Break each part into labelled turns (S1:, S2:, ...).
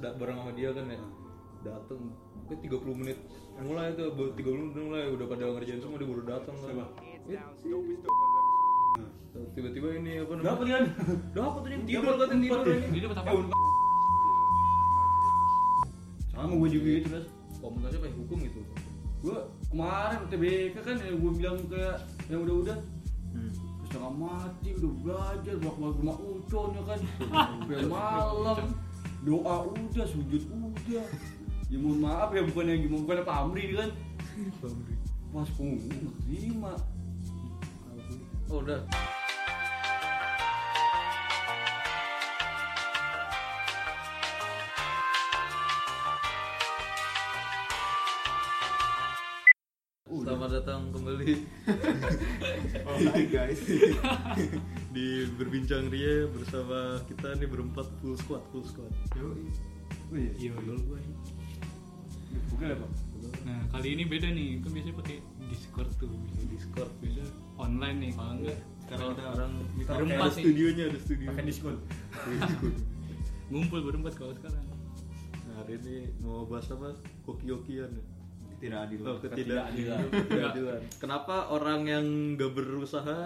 S1: da- bareng sama dia kan ya
S2: Hmm.
S1: dateng ke 30 menit mulai tuh baru 30 menit mulai udah pada ngerjain semua dia baru datang kan Eh,
S2: Hmm.
S1: tiba-tiba ini apa namanya
S3: Dapat kan?
S1: dapat tuh yang tidur kan tidur
S2: ya?
S1: ini
S4: Ini dapat apa?
S3: Eh, unpad. Sama gue juga gitu, Bas.
S1: komunikasi pakai hukum gitu
S3: Gue kemarin TBK kan yang gue bilang kayak yang udah-udah
S2: Hmm.
S3: setengah mati udah belajar bolak balik rumah ucon ya kan sampai malam doa udah sujud udah ya mohon maaf ya bukan yang gimana bukan apa Amri ini kan pas punggung nggak terima
S1: oh udah Selamat datang kembali
S3: Oh, iya.
S2: Hai guys.
S1: di berbincang Ria bersama kita nih berempat full squad full squad.
S2: Yoi.
S3: Wih,
S4: Iya, iya.
S3: bukan apa
S4: Nah, kali ini beda nih. Kan biasanya pakai Discord tuh. Biasanya Discord biasa online nih Iya. kalau enggak.
S2: Sekarang kita
S1: Sekarang
S2: kita
S4: berempat
S2: pakai-
S1: ada
S4: nih.
S1: studionya ada studio.
S2: pakai diskon.
S4: Ngumpul berempat kalau sekarang.
S1: Nah, hari ini mau bahas apa? Hoki-hokian ya.
S2: Tidak adil.
S1: Oh,
S2: Ketidakadilan.
S1: ketidakadilan. Ketidakadilan. Kenapa orang yang gak berusaha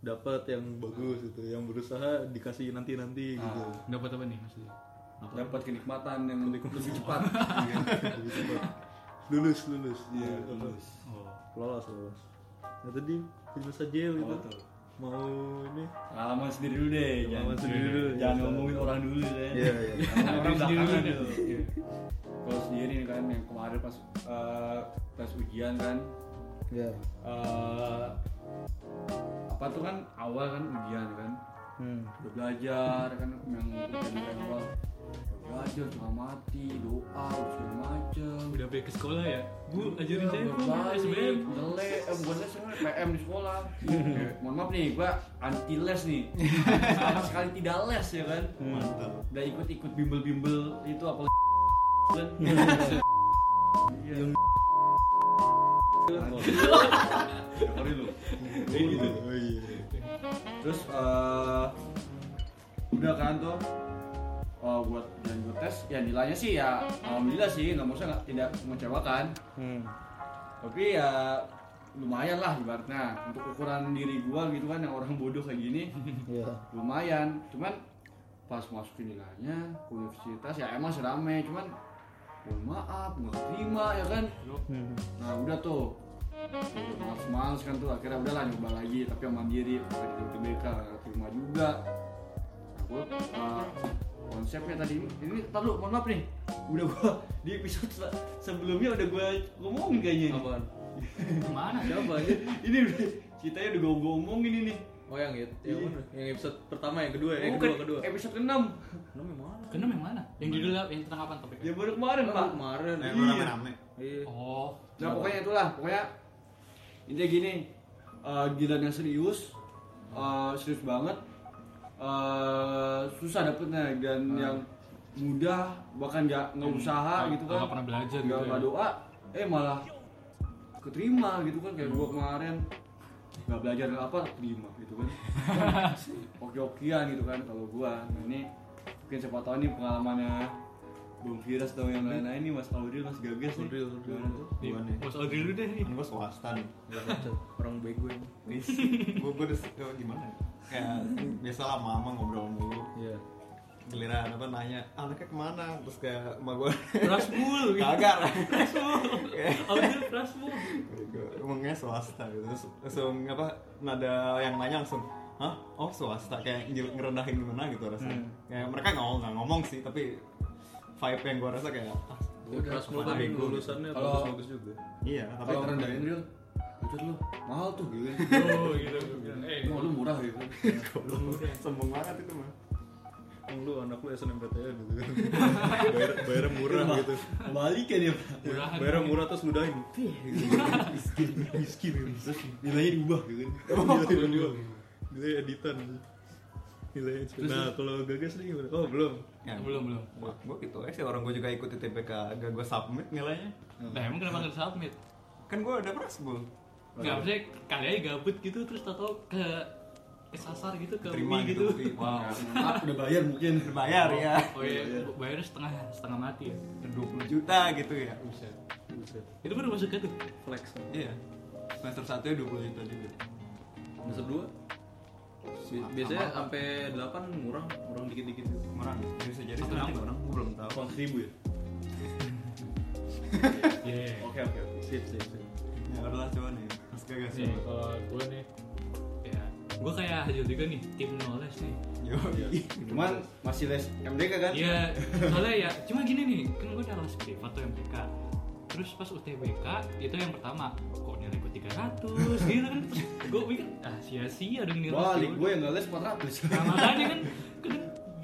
S1: dapat yang bagus gitu, yang berusaha dikasih nanti-nanti gitu.
S4: Dapat apa nih maksudnya?
S3: dapat kenikmatan yang lebih cepat
S2: Iya.
S1: Gitu, Pak. lulus, lulus.
S3: Iya,
S1: Apa?
S3: lulus.
S4: Oh.
S1: Lolos, lolos. Nah, tadi punya saja gitu.
S3: tuh?
S1: Mau ini
S3: pengalaman sendiri dulu deh
S1: Pengalaman
S3: jangan-
S1: sendiri dulu,
S3: jangan
S1: iya.
S3: ngomongin orang dulu ya
S1: Iya, iya.
S3: orang
S4: Diri sendiri
S3: belakangan
S4: dulu.
S3: dulu kalau sendiri nih kan yang kemarin pas eh, tes ujian kan
S1: Iya.
S3: eh, apa tuh kan awal kan ujian kan
S1: Hmm.
S3: udah belajar kan yang ujian dari awal Udah belajar cuma mati doa segala macem
S4: Udah balik ke sekolah ya? Bu, ajarin saya bu,
S3: balik,
S4: SBM
S3: Iya, jelek, eh bukan les, sebenarnya PM di sekolah Mohon maaf nih, gua anti les nih Sama sekali tidak les ya kan
S2: Mantap.
S3: Udah ikut-ikut bimbel-bimbel itu apa kan Iya. Dengerin lu. Kayak gitu.
S1: Oh, iya.
S3: Terus eh, udah kan tuh eh, buat dan buat tes ya nilainya sih ya alhamdulillah sih nggak maksudnya nggak tidak mengecewakan
S1: Hmm.
S3: tapi ya lumayan lah ibaratnya untuk ukuran diri gua gitu kan yang orang bodoh kayak gini
S1: Iya.
S3: lumayan cuman pas masukin nilainya ke universitas ya emang sih rame cuman mohon maaf nggak terima ya kan
S1: Hmm.
S3: nah udah tuh males males kan tuh akhirnya udahlah nyoba lagi tapi yang mandiri bukan di UTBK nggak terima juga nah, gua, eh, konsepnya tadi ini ini tar dulu, mohon maaf nih udah gua di episode se- sebelumnya udah gua ngomongin kayaknya nih.
S1: Apaan?
S4: Mana?
S1: Siapa aja?
S3: ini udah ceritanya udah gua omongin ini
S1: Oh yang itu, yang mana? Yang episode pertama, yang kedua, ya? yang
S3: Oh, Bukan,
S1: kedua, kedua.
S3: episode ke-6
S1: Nama yang mana?
S4: Kenapa yang mana? Iya. Yang judul apa? Yang tentang apa topiknya?
S3: yang baru Oh, kemarin
S1: Kan
S3: pak
S1: kemarin.
S2: Nah, yang rame-rame.
S1: Iya.
S4: Oh,
S3: nah pokoknya itulah pokoknya intinya gini eh Gilan yang serius eh, serius banget eh, susah dapetnya dan yang mudah bahkan nggak nggak usaha
S4: Hmm. nggak-
S3: gitu kan
S4: nggak pernah belajar
S3: nggak
S4: gitu ya.
S3: nggak doa eh malah keterima gitu kan kayak gua
S4: Hmm.
S3: kemarin nggak belajar apa terima gitu kan oke-okean gitu kan kalau gua nah, ini mungkin siapa tahu nih pengalamannya Bung Firas atau
S4: Hmm.
S3: yang lain-lain nih Mas Audrey Mas Gagas nih
S1: Audril, Audril.
S3: Gimana tuh?
S4: nih,
S2: Gua nih.
S4: Mas Audrey dulu deh nih.
S2: Kan gua swasta nih.
S1: Iya. Orang bego ini.
S2: Nih, gua gua udah oh, gimana? ya? Kayak biasalah mama ngobrol mulu.
S1: Iya.
S2: Giliran apa nanya, anaknya kemana? Terus kayak emak gua
S4: Prasmul.
S2: gagal.
S4: Audrey Prasmul.
S2: Ngomongnya swasta gitu. Terus langsung apa nada yang nanya langsung Hah? Oh swasta kayak ngil- ngerendahin gimana gitu rasanya. Kayak mereka nggak nggak ngomong sih, tapi vibe yang gua rasa kayak ah,
S1: Udah, Rasmul
S2: kemana
S1: kan
S2: bego?
S1: lulusannya
S3: Kalau-
S1: bagus-bagus juga.
S2: Iya, tapi
S3: kalau
S2: keren
S3: rendahin real Bujut lu, mahal tuh gitu
S4: Oh, gitu. Eh,
S3: Mau lu murah gitu
S2: Sombong banget itu mah.
S1: Emang lu anak lu SNMPTN gitu kan. Bayar bayarnya murah gitu.
S3: Balik ya dia
S4: murahan.
S1: Bayarnya murah terus ludahin. gitu. Miskin, miskin gitu.
S3: Nilainya diubah
S1: Gitu kan. Nilai dua. Nilai editan. Nilai Nah, kalau gagas nih gimana? Oh, belum.
S2: Ya,
S4: Belum, belum.
S2: gue gitu aja sih orang gue juga ikut TPK agak gue submit nilainya
S4: Nah, emang kenapa nggak submit?
S2: kan gue ada prasbul
S4: Nggak, maksudnya kali aja gabut gitu terus tau ke kesasar gitu ke
S2: terima
S4: Umi
S2: gitu.
S4: gitu.
S2: Wow.
S3: Ah, udah bayar mungkin
S2: Berbayar ya.
S4: Oh iya, bayarnya setengah setengah mati ya.
S2: 20 juta gitu ya.
S4: Bisa.
S1: Buset,
S4: Itu baru gitu. masuknya tuh.
S1: flex.
S2: Iya. Semester 1 ya 20 juta juga.
S1: Semester 2 biasanya sampai 8 murah, murah dikit-dikit gitu.
S2: Murah nggak sih? Bisa jadi
S4: Satu
S2: sekarang
S4: enam.
S2: orang gue belum tahu.
S1: Tahun 1000 ya?
S5: Iya.
S1: Oke, oke, oke. Sip, sip, sip. Iya.
S2: Ya adalah coba nih. Mas kagak sih.
S5: Nih, kalau gue nih
S4: Ya. Gue Iya. kayak Hasil juga nih, tim knowledge nih.
S2: Yo.
S1: Iya.
S2: iya.
S3: cuman masih les MDK kan
S4: Iya, soalnya ya cuma gini nih, kan gue dalam privat tuh MTK. Terus pas UTBK itu yang pertama, kok nilai gue 300 gitu kan. Terus gue mikir, ah sia-sia dong nilai.
S3: balik
S4: gue.
S3: gue yang gak les 400
S4: Nah, makanya kan, kan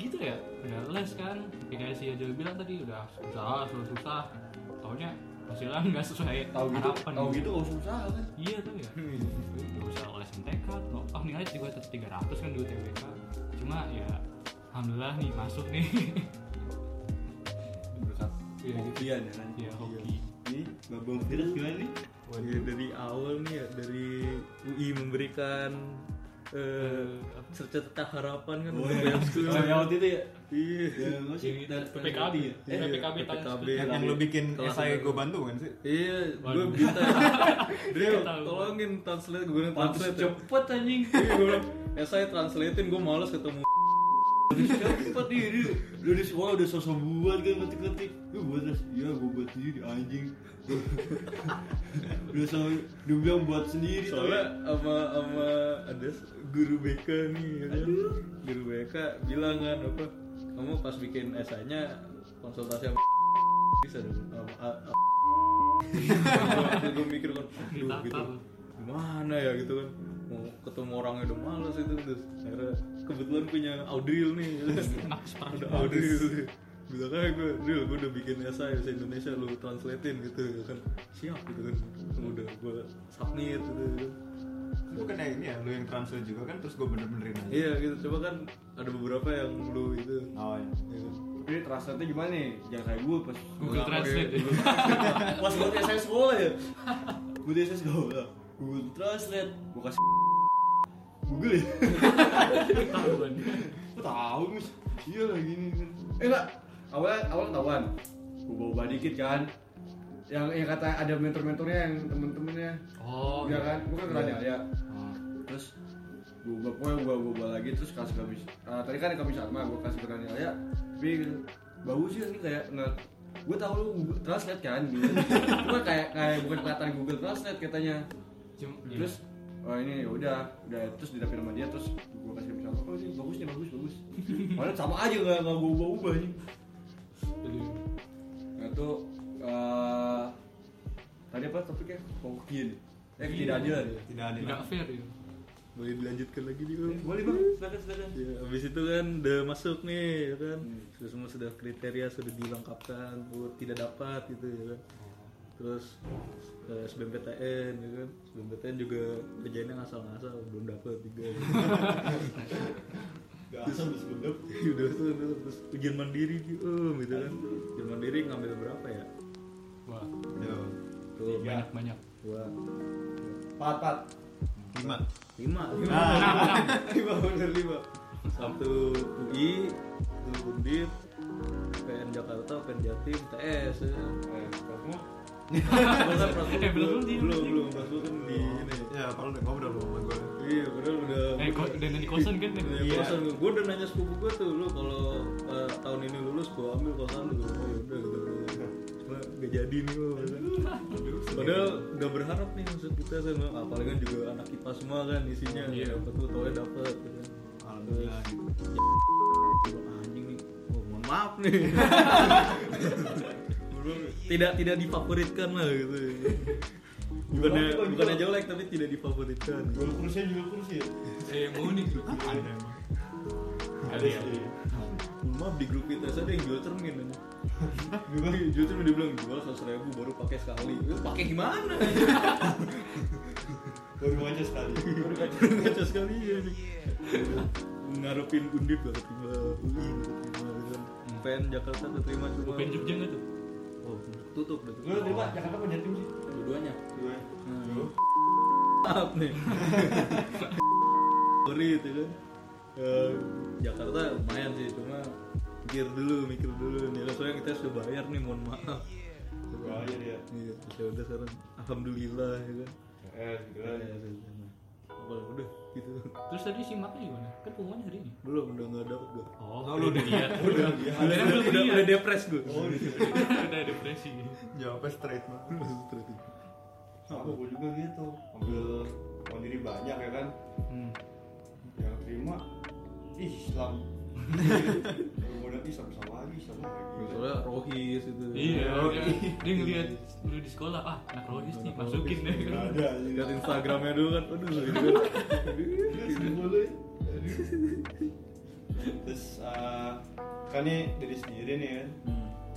S4: gitu ya, udah les kan. Ya, Kayak si Ajo bilang tadi udah susah, susah, susah. Taunya hasilnya nggak sesuai
S3: tahu gitu
S4: harapan.
S3: tahu gitu gak usah usaha kan
S4: Iya tuh ya. Gak usah les MTK, no- oh nilai juga atas 300 kan di UTBK. Cuma ya, alhamdulillah nih masuk nih.
S3: berkat
S4: Iya gitu.
S1: Iya, ya kan?
S4: Iya, hoki.
S1: Ini Babang Firdaus gimana nih? Ya, dari awal nih ya, dari UI memberikan eh
S4: apa?
S1: cerita harapan kan untuk banyak sekolah.
S3: oh ya waktu itu ya
S1: Iya.
S3: ya nggak sih
S4: Ini
S3: dari
S4: PKB ya?
S1: Iya,
S4: PKB tahun
S1: PKB.
S2: Yang, Iya, yang lu bikin
S1: Iya. Kelas
S2: esai
S1: satu.
S2: gue bantu kan sih?
S1: Iya, gue
S4: Waduh.
S1: minta Drill,
S4: Tahu.
S1: tolongin translate gue bilang
S3: pantas
S1: translate. ya.
S3: cepet anjing
S1: Iya, gue bilang, "Eh, saya translatein, gue males ketemu
S3: cepet nih dia lu di sekolah udah sosok buat kan ngetik ngetik lu buat les iya gue buat sendiri anjing udah sama dia bilang buat sendiri tau
S1: soalnya
S3: ya.
S1: sama sama ada s- guru BK nih ya kan? guru BK bilang kan apa kamu pas bikin esainya konsultasi sama bisa dong sama- a- a- Waktu gue mikir kan aduh gitu
S4: Ditantang.
S1: gimana ya gitu kan mau ketemu orangnya udah males itu terus akhirnya kebetulan punya Audril nih ada Audril bilang "Eh, aja gue Dril gue udah bikin esai bahasa Indonesia lu translatein gitu ya kan siap gitu kan udah gue submit gitu, gitu.
S2: Bukan ya ini ya, lu yang translate juga kan terus gue bener-benerin aja.
S1: Iya gitu, coba kan ada beberapa yang lu itu
S2: Oh iya.
S3: Jadi translate gimana nih? Jangan kayak gue pas
S4: Google Translate.
S1: kan.
S3: pas buat SS sekolah ya. Buat SS sekolah. Google Translate. Gue kasih Google ya.
S4: Ketahuan.
S3: Gue tahu mis. Iya lah gini. gini. Eh enggak. Awalnya awal ketahuan. Gue bawa dikit kan. Yang yang kata ada mentor-mentornya yang temen-temennya.
S4: Oh.
S3: Iya kan? Gue kan kenal
S1: Iya.
S3: ya. Terus gue ubah pokoknya gue ubah lagi terus kasih kami ah, tadi kan kami sama gue kasih ke Rania ya tapi bau sih ini kayak nggak gue tahu lu Google Translate kan gitu gue kayak kayak bukan kelihatan Google Translate katanya
S4: Cuma- iya.
S3: terus oh ini ya udah udah terus didapin sama dia terus gue kasih ke sama oh ini bagus nih bagus bagus padahal sama aja nggak nggak gue ubah ubah nih
S4: Aduh.
S3: nah itu eh, tadi apa topiknya hoki nih eh ketidakadilan
S2: Tidak ada.
S4: Tidak fair ya.
S1: boleh dilanjutkan lagi nih lu.
S3: boleh bang silakan silakan
S1: Ya, habis itu kan udah masuk nih ya kan. Sudah semua sudah kriteria sudah dilengkapkan buat tidak dapat gitu ya kan. Terus eh, SBMPTN ya kan. SBMPTN juga kerjanya ngasal-ngasal belum dapat tiga. ya kan.
S2: Dasar lu sebelum
S1: Iya, udah tuh udah, terus ujian mandiri gitu, gitu kan. Ujian mandiri ngambil berapa ya?
S4: Wah,
S1: Tuh,
S4: banyak-banyak.
S1: dua,
S3: pat pat
S2: Lima.
S1: lima, lima.
S2: Nah,
S4: Enam, enam.
S1: lima bener lima satu UI satu Undip PN Jakarta PN Jatim TS ya.
S3: eh, kamu
S1: Masa Prasmul
S4: Eh,
S1: belum
S4: belum, belum,
S1: belum belum Prasmul kan di ini
S2: Ya, kalau udah ngobrol lu sama gue.
S1: iya padahal udah
S4: Eh, kok dan di kosan kan?
S1: Udah
S2: Iya.
S1: kosan gue udah nanya sepupu gue tuh lu kalau eh, tahun ini lulus gue ambil kosan lu oh yaudah gitu cuma gak jadi nih lu padahal gak berharap nih maksud kita sama apalagi kan juga anak IPA semua kan isinya
S4: Iya.
S1: dapet tuh tau dapet gitu kan.
S2: Alhamdulillah. gitu.
S1: Bilang, anjing nih oh, mohon maaf nih Belum, tidak tidak difavoritkan lah gitu bukannya
S3: Jual,
S1: bukannya
S3: jual.
S1: jelek tapi tidak difavoritkan
S3: jual kursi jual kursi ya
S4: Eh, mau nih.
S2: Ada emang.
S4: Ada
S2: Iya.
S4: ya.
S3: Iya.
S1: Mohon maaf di grup kita ada yang jual cermin aja jual cermin dia bilang jual seratus ribu baru pakai sekali ya, pakai gimana
S3: baru aja sekali
S1: ngaco sekali ya nih ngarepin undip gak keterima UI gak keterima gitu kan PN Jakarta keterima cuma
S4: Bukan Jogja nggak tuh?
S1: oh, tutup udah tutup. Hmm.
S3: lu terima Jakarta apa Jatim sih
S1: dua-duanya
S3: dua
S1: maaf nih favorit ya kan Eh, Jakarta lumayan sih cuma mikir dulu mikir dulu nih soalnya kita sudah bayar nih mohon maaf
S5: Bayar ya.
S1: iya terus ya udah sekarang alhamdulillah ya kan
S5: Eh, gila.
S1: Ya, ya, ya, ya. apa udah gitu
S4: Terus tadi si Maknya gimana? Kan pengumuman hari ini.
S1: belum udah nggak ada gue
S4: Oh, lu udah lihat. Udah lihat.
S1: udah udah
S4: Akhirnya kan belum iya.
S1: udah,
S4: lihat.
S1: udah depres gue
S4: Udah depresi.
S2: Jawabnya straight Kan banget.
S5: Sama gue juga gitu. Ambil uang diri banyak ya kan.
S4: Hmm.
S5: Yang terima Islam. Kalau mau nanti sama sama lagi sama lagi.
S1: Iya, soalnya rohis itu
S4: Iya, dia, dia ngeliat lu di sekolah, ah anak rohis nih, masukin deh.
S5: Gak
S1: kan.
S5: ada. anjing.
S1: lihat instagramnya dulu kan aduh gitu
S5: Terus mulai. Aduh. Terus eh, kan nih dari sendiri nih kan.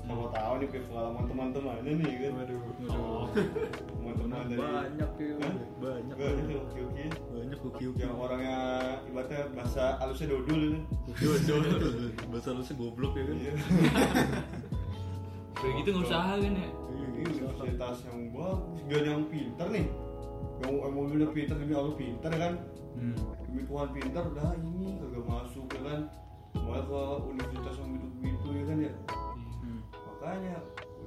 S5: Mau tahu nih pengalaman teman-temannya nih kan.
S4: Oh,
S5: Teman-teman Nah, dari
S1: banyak ya
S5: Hah?
S1: banyak
S5: Banyak, oke-oke.
S1: banyak kuki
S5: yang orangnya ibaratnya bahasa halusnya dodol
S1: bahasa lu sih goblok ya kan
S5: Iya.
S4: kayak gitu nggak usah kan ya.
S5: Ini universitas yang bagus, gak ada yang pintar nih. Yang emang bener pintar demi Allah pintar kan. Demi Tuhan pintar, dah ini kagak masuk ya kan. Malah ke universitas yang gitu-gitu ya kan ya. Makanya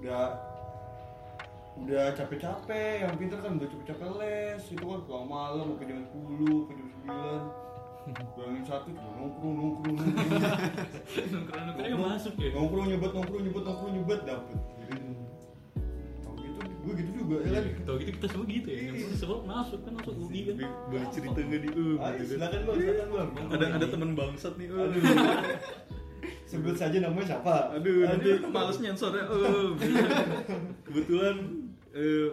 S5: udah udah capek-capek, yang pintar kan udah capek-capek les, itu kan pulang malam, sampai jam 10, sampai jam 9 Bayangin satu, cuma nongkrong, nongkrong, nongkrong
S4: Iya. Nongkrong-nongkrongnya masuk ya.
S5: nongkrong nyebet nongkrong nyebet nongkrong nyebet dapet Tau gitu gue gitu juga ya kan
S1: Iya.
S4: Tau gitu kita semua gitu ya, yang sekolah masuk kan langsung UI kan.
S1: boleh cerita gak di um
S5: Ayo, silakan bang silakan bang
S1: ada ada teman bangsat nih um
S5: Aduh. sebut saja namanya siapa
S1: aduh nanti males nyensornya um kebetulan eh,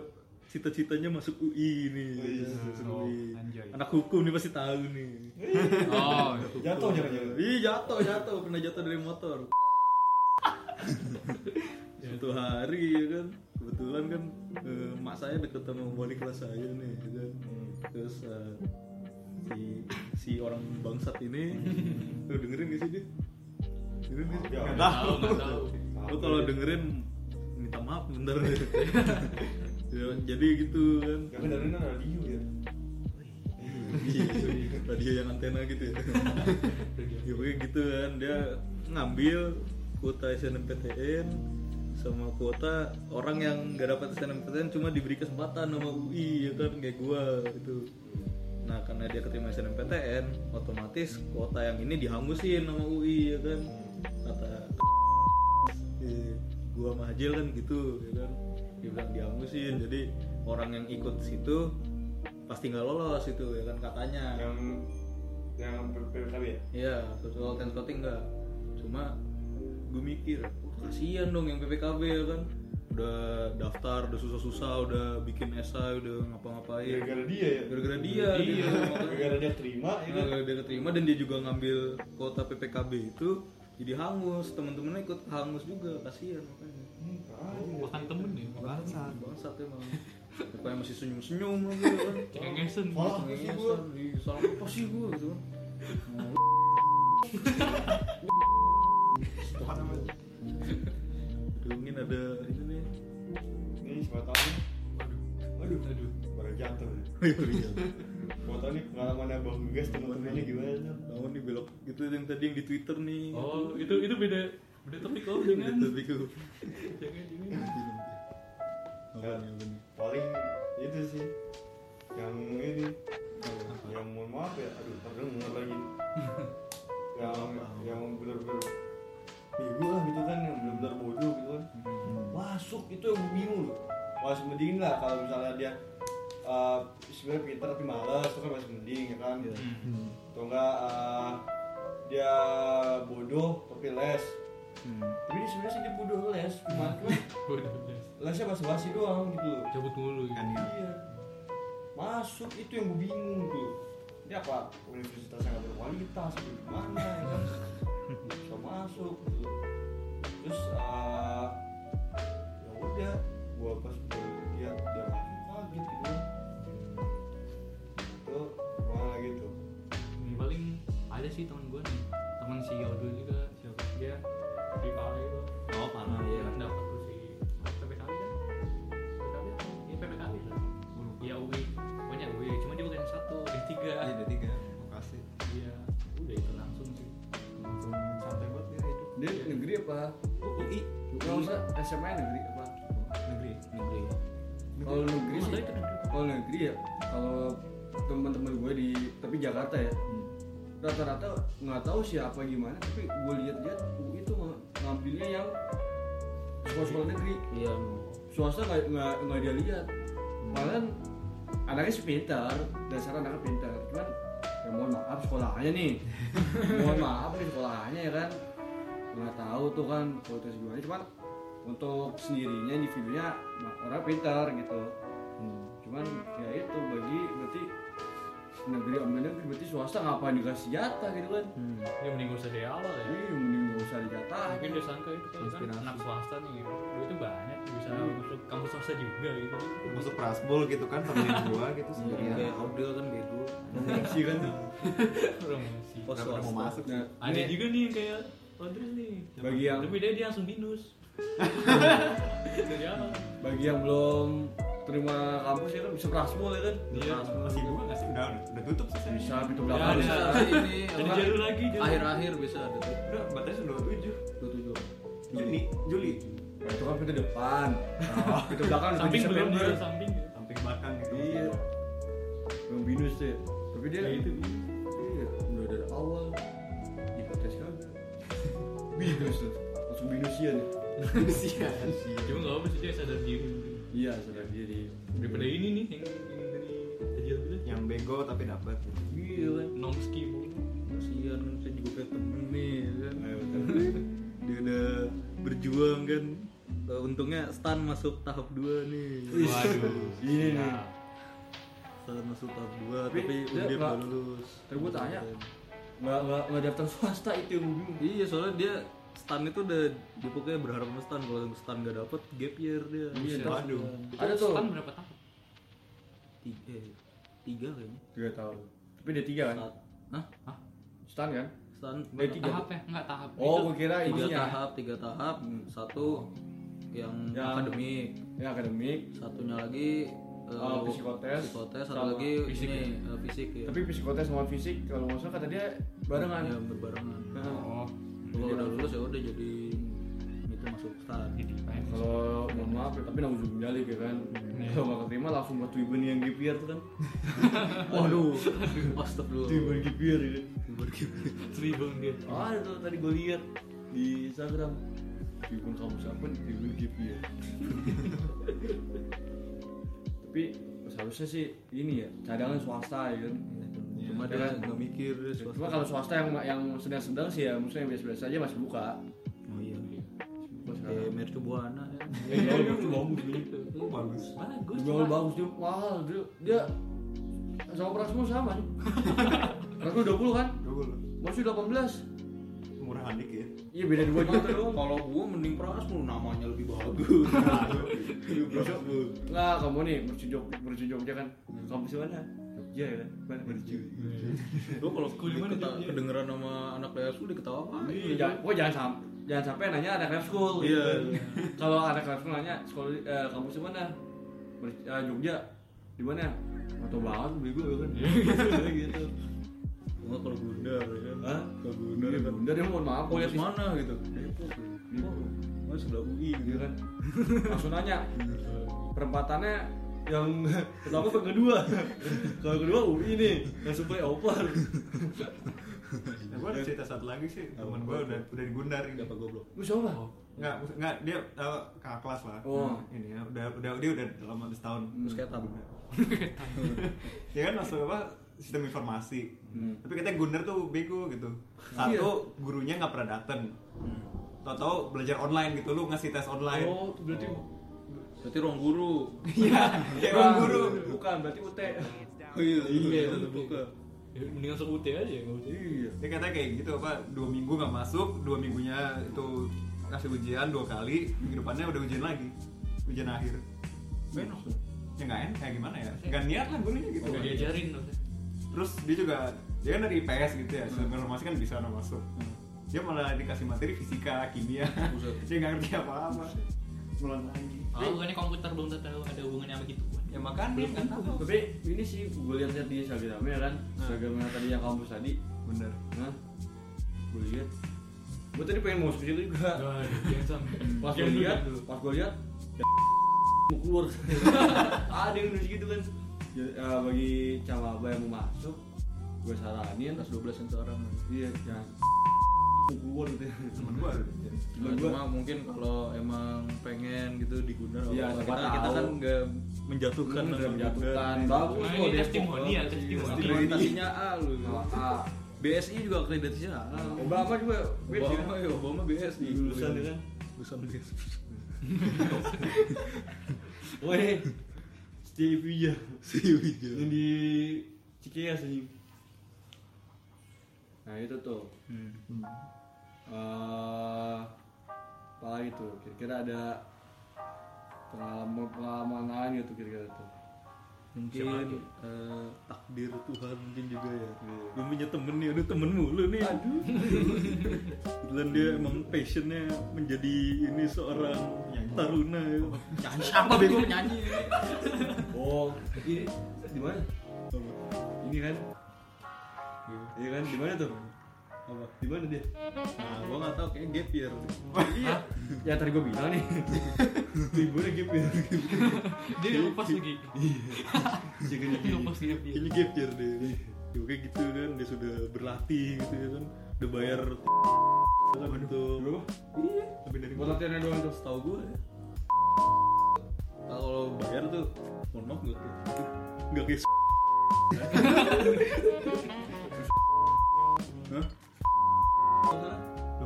S1: cita-citanya masuk UI nih
S5: Iya.
S1: Masuk
S4: Oh,
S1: UI.
S4: anjay.
S1: anak hukum nih pasti tahu nih
S4: Oh,
S5: jatuh jangan jangan
S1: Ih jatuh jatuh pernah jatuh dari motor. Suatu hari ya kan kebetulan kan eh, mak saya deket sama wali kelas saya nih ya kan. Terus eh, si si orang bangsat ini lu dengerin gak sih dia? Dengerin gak sih?
S5: Ya,
S2: Nggak
S5: ya.
S2: tahu.
S4: nggak tahu.
S1: Lu kalau dengerin minta maaf bentar Ya, jadi gitu kan
S5: ya kan dari mana radio ya
S1: Iya, radio yang antena gitu ya ya pokoknya gitu kan dia ngambil kuota SNMPTN sama kuota orang yang nggak dapat SNMPTN cuma diberi kesempatan sama UI ya kan kayak gua gitu nah karena dia keterima SNMPTN otomatis kuota yang ini dihangusin sama UI ya kan kata eh, gua sama Hajil kan gitu ya kan dia bilang dihangusin jadi orang yang ikut situ pasti nggak lolos itu ya kan katanya
S5: yang yang PPKB ya
S1: Iya, social talent scouting enggak. Cuma gue mikir, "Wah, kasihan dong yang PPKB ya kan. Udah daftar, udah susah-susah, udah bikin esai, udah ngapa-ngapain.
S5: gara-gara dia ya
S1: Iya. Gara-gara dia, dia
S5: gara-gara dia terima ya kan
S1: Nah, dia keterima dan dia juga ngambil kota PPKB itu jadi hangus, teman-temannya ikut hangus juga, kasihan makanya. Iya.
S4: Makan temen ya,
S1: Bangsat, bangsat emang. Pokoknya masih senyum-senyum lagi ya kan.
S4: cengengesan.
S5: Malah
S1: Ngesan,
S5: sih gue
S1: iya, salah apa sih gue gitu kan. Aduh, mungkin ada ini nih
S5: ini siapa tahu
S4: Aduh, aduh.
S5: Oh, baru jatuh
S1: Iya.
S5: mau tahu nih pengalamannya bang Gas teman-temannya gimana tuh
S1: Namun di belok itu yang tadi yang di Twitter nih.
S2: Iya.
S4: Oh, itu itu beda beda topik oh jangan.
S1: tapi gue
S4: Jangan jangan.
S1: apa nih apa nih?
S5: paling itu sih yang ini yang mohon maaf ya aduh padahal mulut lagi yang yang benar-benar bego lah gitu kan yang benar-benar bodoh gitu kan masuk itu yang gue bingung loh masih mending lah kalau misalnya dia eh, sebenarnya pintar tapi malas itu kan masih mending ya kan
S1: Iya.
S5: atau enggak eh, dia bodoh tapi les tapi dia sebenarnya sih dia bodoh les cuma cuma
S4: Udah, udah.
S5: lesnya basa-basi doang gitu loh
S4: Cabut mulu ya.
S2: Kan.
S5: Iya. Masuk itu yang gue bingung tuh. Ini apa universitas yang gak berkualitas atau gimana ya kan? Bisa masuk gitu. Terus eh, ya udah, gua pas baru lihat dia masuk kaget gitu. Itu gimana gitu.
S4: Hmm, paling ada sih teman gue nih teman si Yodo juga siapa dia di Pare itu
S2: Oh, parah.
S4: dia kan dapat tuh si PPKB kan PPKB ya PPKB lah Iya,
S2: Gua lupa.
S4: ya UI banyak UI cuma dia bukan satu di tiga
S2: Iya, ada tiga. Makasih. ya,
S5: Iya.
S3: apa
S2: UI
S3: kalau maksudnya SMA negeri apa
S2: negeri
S4: negeri
S2: ya?
S3: kalau negeri
S4: Masa
S3: sih
S4: itu negeri?
S3: kalau negeri ya kalau teman-teman gue di tapi Jakarta ya
S4: Hmm.
S3: rata-rata nggak tahu siapa gimana tapi gue lihat-lihat UI itu ng- ngambilnya yang sekolah-sekolah negeri
S4: iya Hmm.
S3: swasta nggak nggak nggak dia lihat malahan anaknya sih pintar dasar anaknya pintar cuman ya mohon maaf sekolahnya nih mohon maaf nih sekolahnya ya kan nggak tahu tuh kan kualitas gimana cuman untuk sendirinya individunya orang pintar gitu cuman ya itu bagi berarti negeri ambil negeri berarti swasta ngapain dikasih jatah gitu kan
S4: ya mending gak usah dari awal ya
S2: Iya.
S3: ini mending nggak usah dijatahin
S4: mungkin dia sangka itu kali kan
S2: Inspirasi.
S4: anak swasta nih duitnya banyak bisa masuk kampus swasta juga gitu
S2: Iya. masuk prasbol gitu kan temenin gua gitu
S1: kayak
S2: sendirian
S1: Audrey kan bego
S3: sih kan
S4: promosi
S1: Pos-
S2: Gak pernah mau masuk
S3: nah,
S4: ada
S3: ini
S4: juga nih yang kayak Audrey nih
S3: bagi yang
S4: tapi dia dia langsung minus dari awal
S3: bagi yang belum terima kampus ya kan bisa prasmul ya kan
S4: Iya.
S3: Prasmul.
S2: masih gua nggak sih udah udah tutup sih
S3: bisa
S2: saya
S3: pintu
S4: Ya,
S3: belakang
S4: ada.
S3: bisa
S1: ini
S4: Jadi
S1: apa?
S4: jaru lagi, jaru.
S1: akhir-akhir bisa ada tuh
S2: udah batasnya dua tujuh
S3: dua tujuh
S2: Juni Juli
S3: Nah, itu kan pintu depan Nah, pintu belakang itu
S4: samping belum
S3: September
S4: dia samping ya.
S2: samping batang gitu
S3: iya belum binus deh tapi dia
S4: ya itu dia.
S3: iya udah dari awal diprotes kan binus tuh langsung binusian ya.
S2: Iya.
S4: cuma nggak apa sih dia sadar diri
S3: iya sadar diri
S4: daripada ini nih yang yang dari tadi itu
S2: yang bego tapi dapat gitu.
S3: iya kan
S4: nomski mulu.
S1: kasihan kan saya juga kayak temen nih ya kan
S2: Ayo,
S3: Iya.
S1: dia udah berjuang kan Eh, untungnya Stan masuk tahap 2 nih
S4: waduh
S3: Iya nih.
S4: Nah,
S1: Stan masuk tahap 2
S3: Tapi
S1: tapi,
S3: dia
S1: dia
S3: nggak-
S1: baru lulus
S3: tapi gua tanya nggak nggak nggak daftar swasta itu yang gua bingung
S1: iya soalnya dia Stan itu udah dia pokoknya berharap sama Stan kalau Stan gak dapet gap year dia
S3: Iya,
S1: Stan-
S2: waduh
S3: ada tuh
S4: Stan Kan berapa tahun
S1: tiga, eh, tiga kayaknya
S3: tiga tahun tapi dia tiga kan
S1: Stan Hah?
S3: stan kan
S1: Stan
S3: Dia tiga.
S4: tahap ya nggak tahap
S3: oh
S4: Itu
S3: gua kira
S1: tiga
S3: ininya
S1: tahap tiga tahap
S3: Hmm.
S1: satu yang,
S3: Yang-
S1: akademik
S3: ya akademik
S1: satunya lagi eh,
S3: Oh, psikotes.
S1: psikotes, satu
S3: Sama
S1: lagi
S4: fisik
S1: ini eh, fisik ya
S3: tapi psikotes sama fisik kalau nggak salah kata dia barengan
S1: ya berbarengan
S4: Oh,
S3: Nah,
S1: kalau udah lulus ya udah jadi itu masuk stan
S4: jadi main
S3: kalau mohon maaf ya, tapi nanggung jalik ya kan kalau nggak keterima langsung buat tuiben yang GPR tuh kan
S1: waduh astagfirullah
S3: tuiben GPR ini
S4: tribun dia
S3: ah itu tadi gue lihat di Instagram tuiben kampus apa nih tuiben GPR tapi seharusnya sih ini ya cadangan swasta ya kan
S1: cuma
S3: Ya
S1: dia
S3: kan?
S1: nggak mikir dia Iya, swasta.
S3: cuma kalau swasta yang yang sedang-sedang sih ya maksudnya yang biasa-biasa aja masih buka
S1: oh iya
S3: Buka
S1: kayak
S3: sekarang.
S1: mercu buana ya
S3: Iya, itu bagus nih.
S2: Lu bagus
S4: bagus
S3: Jual
S4: cuma
S3: bagus dia mahal dia, dia sama Prasmo sama nih. Prasmo 20 kan?
S2: dulu lu.
S3: Masih 18.
S2: murahan dikit
S3: Iya beda 2 juta doang.
S1: kalau gua mending prasmu namanya lebih bagus prasmu
S3: Nah, kamu nih mercu Jog- mercu Jogja kan. Kampus mana? Jogja ya kan. Mana mercu?
S1: Lo kalau
S4: Kuliah mana
S1: diketa-
S4: dia?
S1: kedengeran sama anak PSU diketawa apa?
S3: Iya, jangan, gua jangan sam- jangan sampai nanya anak lab school.
S1: Iya.
S3: Kalau anak lab school nanya sekolah di- eh, kampus di mana? Mer- eh, Jogja. Di mana? Atau banget bego ya kan.
S1: gitu. Cuma kalau bundar ya kan.
S3: Hah? Iya,
S1: Kalau bundar
S3: Bener,
S1: ya kan.
S3: bener dia mohon maaf. gua
S1: Kuliah
S3: lihat di-
S1: mana gitu? Depok.
S3: Depok.
S1: Mas sebelah UI gitu
S3: Iya
S1: kan.
S3: kan. Langsung nanya, perempatannya yang pertama ke kedua kalau kedua UI nih yang supply over
S2: Nah, gue ada cerita satu lagi sih, temen gue udah udah digundarin
S1: Gak apa goblok.
S3: lu siapa
S2: Nggak, maksud- nggak dia uh, kakak kelas lah.
S3: Oh.
S2: Ini ya, udah udah dia udah lama udah setahun.
S1: Terus kayak tabu.
S2: Ya kan masuk apa sistem informasi.
S3: Hmm.
S2: Tapi katanya Gunder tuh bego gitu. Satu gurunya nggak pernah dateng. Tahu-tahu belajar online gitu, lu ngasih tes online.
S3: oh itu berarti
S1: Berarti ruang guru.
S2: Iya, kayak orang guru.
S3: bukan berarti UT
S1: Oh iya, iya itu buka.
S4: ya, mendingan masuk UT aja nggak usah
S3: iya
S2: Dia katanya kayak gitu apa dua minggu nggak masuk, dua minggunya itu kasih ujian dua kali, minggu depannya udah ujian lagi, ujian akhir.
S4: Benar. Oh, iya,
S2: Ya nggak enak, kayak gimana ya? Nggak niat lah gurunya gitu.
S4: udah diajarin loh
S2: terus dia juga dia kan dari IPS gitu ya sistem informasi kan bisa orang masuk dia malah dikasih materi fisika kimia
S1: Buset.
S2: dia nggak ngerti apa apa mulai lagi
S4: ah bukannya komputer belum tahu ada hubungannya sama gitu
S2: ya makanya kan tahu
S3: tapi ini sih gue lihat-lihat di ya Instagramnya kan Instagramnya tadi yang kampus tadi
S2: bener
S3: nah gue lihat
S5: gue tadi pengen mau seperti itu juga pas gue lihat pas gue lihat mau keluar ada yang nulis gitu kan ya, eh, bagi cawaba yang mau masuk gue saranin
S3: atas 12 yang seorang
S5: iya jangan mau keluar gitu
S2: temen gue ada di sini.
S5: Cuma
S1: Cuma,
S5: gua-
S1: cuma mungkin kalau emang pengen gitu digunakan
S5: Iya,
S1: apa-apa.
S5: siapa
S1: kita, kita
S5: tahu. kan,
S1: kan nggak gitu menjatuhkan
S3: Iya,
S5: Bukan
S1: nama
S5: menjatuhkan
S1: juga.
S5: bagus
S4: Nah,
S5: kok
S4: ini
S5: Depok.
S4: testimoni ya, testimoni.
S1: Akreditasinya A lu.
S5: Nah, ah,
S1: BSI juga akreditasinya A.
S5: Obama juga wait,
S1: Obama
S5: ya.
S1: ya Obama BSI.
S5: Lulusan dia kan.
S1: Lulusan BSI.
S5: Woi, Steve iya. Wija
S1: Si
S5: yang
S1: Wijaya.
S5: di Cikeas anjing. Nah itu tuh. Eh, apa lagi tuh? Kira-kira ada pengalaman pengalaman lain gitu kira-kira tuh.
S1: Mungkin eh, takdir Tuhan mungkin juga ya. Gue punya temen nih, aduh temen mulu nih. Aduh. Kebetulan dia emang passionnya menjadi ini seorang taruna ya.
S2: Jangan siapa bego nyanyi
S5: Oh, ini di mana?
S1: Apa?
S5: Ini kan? Iya kan? Di mana tuh? Apa? Di mana dia?
S1: Nah, gue gak tau kayak gap year.
S5: Iya. Ya tadi gue bilang nih. Liburnya gitu ya.
S4: Dia lepas lagi.
S1: Iya.
S5: Jangan
S4: Dia lepas dia.
S1: Kayaknya gap year deh. Ya, kayak gitu kan, dia sudah berlatih gitu ya kan. Udah bayar kan untuk
S5: Berapa?
S1: lebih dari
S5: Buat latihannya doang tuh.
S1: Tahu gue ya. Kalau bayar tuh, mohon maaf gak kayak gitu? Gak kayak Hah?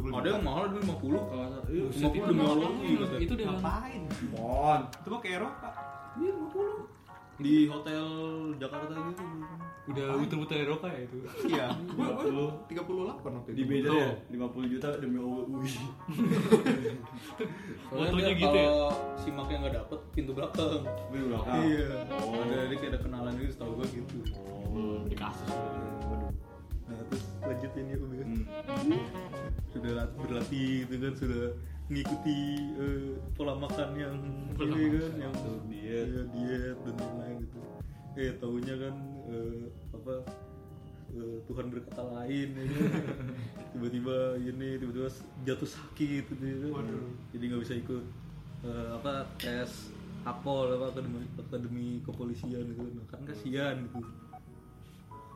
S1: Ada yang mahal dulu 50
S5: Kalau nggak salah. Iya,
S1: Buset,
S5: semua
S1: itu
S5: pun
S1: mahal.
S5: mahal.
S4: Itu dia.
S2: ngapain
S5: Mon.
S2: itu kok kayak Eropa
S1: di hotel Jakarta gitu.
S4: Udah buta-buta Eropa ya itu.
S2: iya gue gue
S5: 50.
S2: tiga puluh delapan waktu
S5: Di
S2: itu
S5: beda
S4: Tuh.
S5: ya, 50 juta demi UI.
S4: Fotonya
S1: Soalnya dia
S4: gitu ya?
S1: kalau simak yang nggak dapet pintu belakang.
S5: Beli belakang.
S1: Iya. Ada dia kayak ada kenalan gitu, tau gue gitu.
S5: Oh.
S4: Di kasus.
S1: Nah terus lanjutin ya Umi.
S4: Hmm.
S1: Sudah lat- berlatih gitu kan, sudah ngikuti eh, pola makan yang
S4: Pola
S1: ini kan,
S4: makan.
S1: yang
S5: Tuh, diet.
S1: Iya, diet dan lain-lain gitu. Eh tahunya kan eh, apa? eh, Tuhan berkata lain, ya kan? tiba-tiba ini tiba-tiba jatuh sakit, gitu, ya kan. jadi nggak bisa ikut eh, apa tes akpol apa akademi, akademi kepolisian gitu Nah, kan kasihan gitu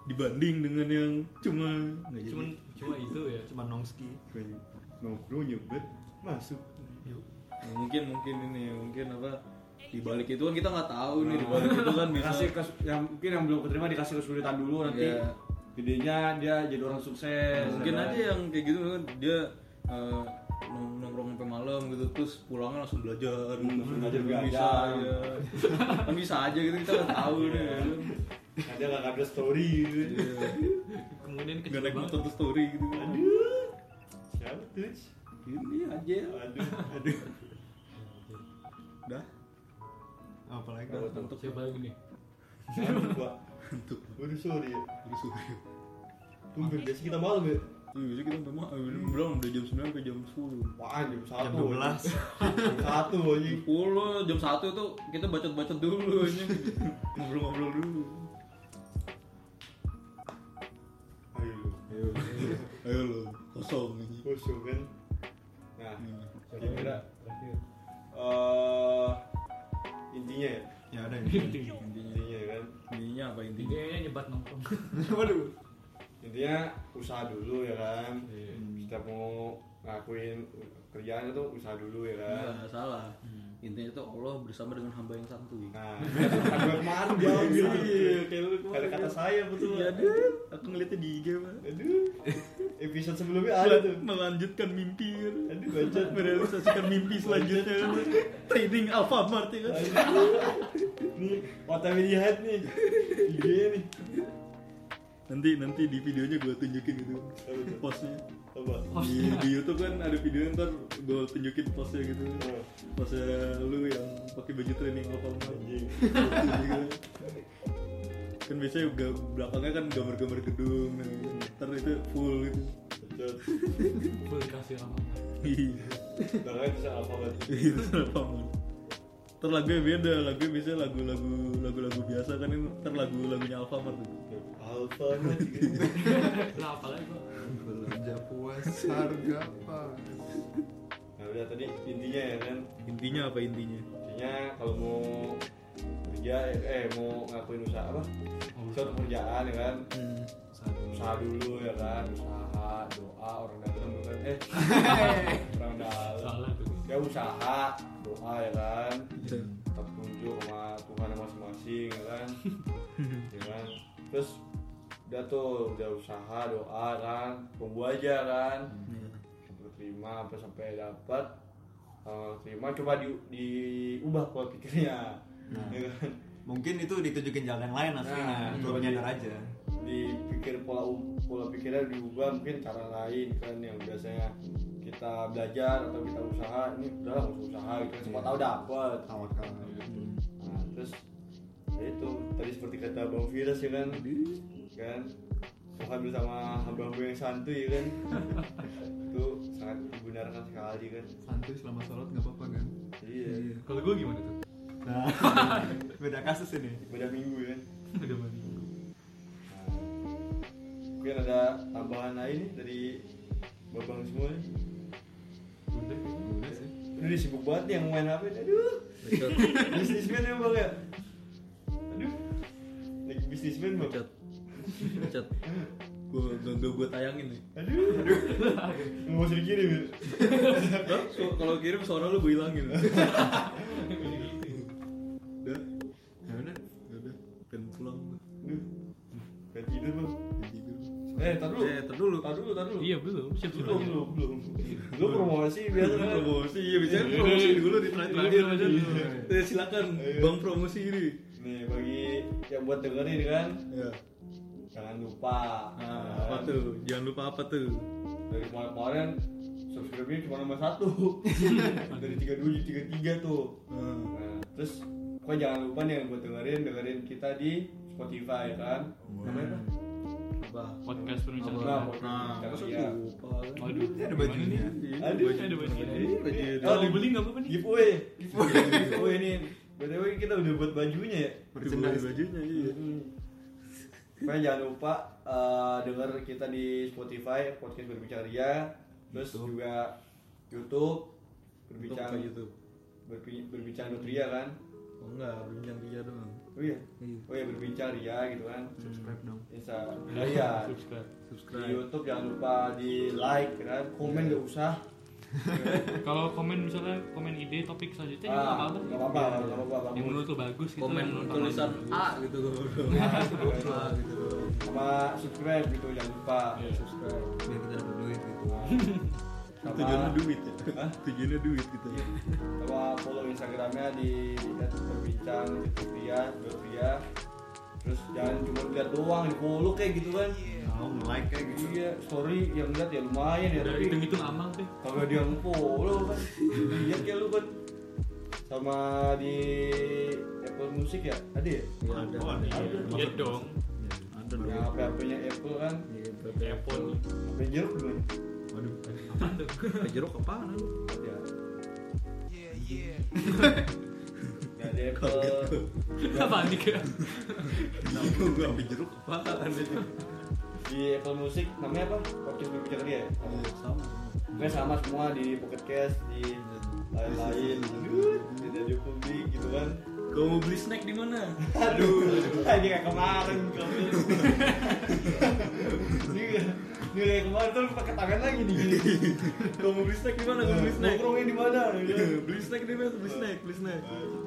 S1: dibanding dengan yang cuma
S5: Nah,
S1: nggak jadi
S4: Cuman cuma itu ya.
S2: cuma nongski
S5: Nongkrong nyebet masuk.
S1: Nah, mungkin mungkin ini mungkin apa dibalik itu kan kita nggak tahu
S5: Ah.
S1: nih dibalik itu kan bisa
S5: Dikasih kes- yang mungkin yang belum keterima dikasih kesulitan dulu nanti.
S1: Iya.
S5: Gedenya dia jadi orang sukses.
S1: mungkin
S5: ya kan?
S1: aja yang kayak gitu kan dia eh, nong- nongkrong sampai malam gitu terus pulangnya langsung belajar gitu.
S5: langsung Hmm, belajar Iya.
S1: bisa
S5: begadang.
S1: ya. kan bisa aja gitu kita nggak tahu nih ya kan.
S5: ada nggak ada story gitu.
S1: Iya.
S4: Kemudian
S1: nggak
S4: kecil
S1: naik
S4: banget.
S1: motor ke story gitu kan
S5: Aduh. Siapa tuh?
S1: ini aja
S5: Aduh, aduh.
S1: udah
S2: apalagi
S1: udah
S5: Iya.
S1: untuk
S4: Siapa lagi nih?
S5: Aduh, Pak.
S1: untuk
S5: Waduh, sorry ya.
S1: ini sore
S5: Tunggu, biasa kita malam ya.
S1: Iya, biasanya kita memang
S5: Hmm.
S1: belum udah jam 9 sampai jam 10
S5: Wah, jam satu.
S2: jam dua belas
S5: Jam Satu anjing.
S1: 10 jam 1 itu kita bacot-bacot dulu anjing. ngobrol-ngobrol dulu
S5: Ayo, ayo.
S1: ayo lo kosong ini
S5: Kosong kan. Nah, kira-kira eh, intinya ya,
S2: ya ada ini
S5: intinya kan.
S1: intinya apa intinya
S4: Dia nyebat nongkrong.
S2: waduh
S5: Intinya usaha dulu ya kan.
S4: Iya.
S5: Kita mau ngakuin kerjaan itu usaha dulu ya kan.
S1: Nggak salah intinya itu Allah bersama dengan hamba yang santuy
S5: Nah, kata gue kemarin dia ambil.
S1: Iya, kayak lu kemarin.
S5: Kata kata saya betul.
S1: iya deh aku ngeliatnya di IG pak
S5: Aduh. Episode sebelumnya ada tuh.
S1: melanjutkan mimpi kan
S5: Aduh, bacot.
S1: merealisasikan mimpi selanjutnya kan training Alfamart ya kan
S5: Nih, otak lihat nih. Iya nih.
S1: nanti nanti di videonya gue tunjukin gitu postnya
S5: Coba.
S1: di, di YouTube kan ada video ntar gue tunjukin postnya gitu postnya ya, lu yang pakai baju training apa
S5: Anjing.
S1: kan biasanya ga- belakangnya kan gambar-gambar gedung nah, ntar itu full gitu
S5: Bacot.
S4: Boleh kasih nama.
S1: Iya.
S5: Makanya Nah, kan bisa apa lagi?
S1: Iya, kenapa man? Ntar lagunya beda, lagunya biasanya lagu-lagu lagu-lagu biasa kan ini ntar lagu-lagunya Alfamart tuh.
S5: Alpha Mat, gitu.
S4: Lah apalagi gua.
S2: belanja puas harga pas
S5: nah udah tadi intinya ya kan
S1: Intinya apa intinya?
S5: intinya kalau mau kerja eh mau ngakuin usaha apa suatu pekerjaan ya kan
S1: Hmm.
S5: usaha dulu ya kan usaha doa orang dalam bukan eh orang dalam
S4: Salah tuh.
S5: ya usaha doa ya kan
S1: Iya.
S5: tetap tunjuk sama Tuhan masing-masing ya kan ya kan terus udah tuh udah usaha doa kan tunggu aja kan terima apa sampai dapat Eh, terima coba di diubah pola pikirnya
S2: Nah.
S5: ya kan
S2: mungkin itu ditujukin jalan yang lain aslinya baru
S5: Nah, betul.
S2: nyadar aja
S5: dipikir pola pola pikirnya diubah mungkin cara lain kan yang biasanya kita belajar atau kita usaha ini udah lah nggak usah usaha gitu kan siapa
S2: Iya.
S5: tahu kan? dapat
S2: tawakal
S5: nah, terus ya itu tadi seperti kata bang Firas ya kan kan Tuhan bersama hamba-hamba yang santuy ya kan itu sangat dibenarkan sekali kan
S2: santuy selama sholat nggak apa-apa kan
S5: iya
S4: Kalau gue gimana tuh?
S2: nah beda kasus ini
S5: beda minggu ya kan
S4: Udah mandi.
S5: Nah, mungkin ada tambahan lain nih dari babang semua nih
S4: Udah.
S2: udah sih
S5: Aduh, dia sibuk banget nih yang main HP nih. Aduh,
S1: Bacot,
S5: bisnismen ya bang ya. Aduh, lagi bisnismen bang.
S1: bacot, bacot. Gue gak gue tayangin nih.
S5: Aduh, aduh. Nggak usah dikirim ya.
S1: Hah? So- Kalau kirim suara lu gue hilangin. Udah,
S2: ya udah
S1: udah, pengen pulang.
S5: Aduh, kayak tidur bang.
S1: Jadi gue.
S5: Eh, tar dulu.
S1: Eh, tar dulu. Iya,
S5: Tar dulu, tar dulu.
S4: Iya belum. Siap
S5: Belum,
S4: suruh.
S5: belum, belum. Lu promosi biasa kan?
S1: promosi ya biasanya promosi dulu di terakhir terakhir
S4: Iya, iya,
S1: Eh, silakan
S5: Iya.
S1: bang promosi ini
S5: Nih, bagi yang buat dengerin kan,
S1: ya
S5: jangan lupa. Kan?
S1: nah, apa tuh jangan lupa apa tuh
S5: dari kemarin kemarin subscribe-nya cuma nomor satu dari tiga dulu tiga tiga tuh nah, terus pokoknya jangan lupa nih yang buat dengerin dengerin kita di Spotify ya kan namanya apa?
S1: apa
S4: Podcast penulisan.
S5: Nah,
S4: suara.
S1: nah
S5: kita
S1: masa
S5: kerja.
S1: lupa
S4: Waduh.
S2: Ini ada
S4: gimana
S2: bajunya.
S4: nih?
S5: Aduh,
S4: ada bajunya.
S1: Baju
S5: Ini-
S1: itu.
S5: oh,
S4: Kalau beli nggak apa-apa nih.
S5: giveaway giveaway giveaway ini btw kita udah buat bajunya ya
S1: merchandise bajunya iya
S5: Hmm. pokoknya jangan lupa eh, denger kita di Spotify podcast berbicara Ria terus
S2: YouTube.
S5: juga YouTube berbicara
S1: Berbicara YouTube
S5: berbi- berbicara Nutria kan
S1: oh enggak berbincang dia doang
S5: oh iya
S1: Iya.
S5: oh iya berbicara ya gitu kan
S2: subscribe dong
S5: Insta Nah, iya
S4: Subscribe.
S5: di
S1: subscribe
S5: YouTube jangan lupa di like kan komen gak usah
S4: Kalau komen misalnya komen ide topik selanjutnya juga
S5: Ah,
S4: apa-apa.
S5: nggak apa-apa nggak apa-apa
S4: Yang menurut lo bagus gitu.
S1: komen
S4: yang menurut lo
S1: tulisan
S4: bagus.
S1: A gitu
S5: Bagus.
S1: A gitu
S5: sama subscribe gitu jangan lupa
S4: Iya.
S1: subscribe
S2: biar kita dapat duit gitu
S5: sama,
S1: tujuannya duit ya
S5: Hah?
S1: tujuannya duit gitu
S5: sama follow Instagramnya di berbincang Nutria Nutria terus jangan cuma lihat doang di follow kayak gitu kan
S1: Iya.
S2: mau like kayak gitu
S5: iya story yang lihat ya lumayan ya
S4: Udah
S5: tapi
S4: Iya, hitung-hitung amal deh.
S5: kalau dia follow kan lihat ya lu kan sama di Apple Music ya ada ya
S1: Nggak ada
S2: Oh, ada.
S4: Iya dong.
S1: ada loh
S5: Nah, HP-HP-nya Apple kan
S1: Iya,
S4: Telepon.
S5: HP jeruk dulu ya?
S1: Waduh, apa tuh? Jeruk apaan lu?
S5: Ada.
S1: Iya,
S5: Nah, di Apple
S4: Apa nih kira?
S1: Kenapa gua ambil jeruk apaan itu?
S5: di Apple Music namanya apa? Podcast berbicara dia ya?
S1: Iya, sama semua.
S5: Pokoknya sama semua di Pocket Cast, di lain-lain, Aduh, di radio publik gitu kan.
S1: Kau mau beli snack di mana?
S5: Aduh, ini kayak kemarin kamu. Ini kayak- ini kayak kemarin tuh pakai tangan lagi nih.
S1: Kau mau beli snack di mana? Kau beli snack.
S5: Nongkrongnya di mana? gitu.
S1: beli snack di mana? Beli snack, beli snack.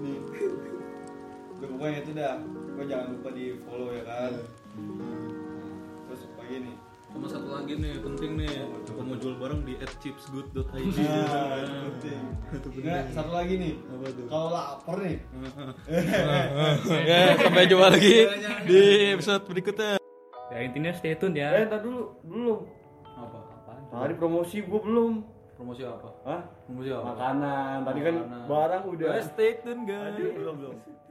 S5: nih udah pokoknya itu dah Pokoknya jangan lupa di follow ya kan terus pagi nih
S1: Sama satu lagi nih penting nih. Kalau mau jual barang di @chipsgood.id.
S5: nah itu penting
S1: Iya. Itu
S5: Nah,
S1: penting.
S5: satu lagi nih
S1: Apa tuh?
S5: kalau lapar nih
S6: Oke, sampai jumpa lagi di episode berikutnya.
S4: Ya intinya stay tune ya.
S5: eh ntar dulu belum
S3: Apa?
S5: tadi promosi gua belum
S3: Promosi apa?
S5: Hah?
S3: Promosi apa?
S5: makanan tadi kan
S3: Makanan.
S5: barang udah
S6: Stay tune guys.
S5: Aduh, belum belum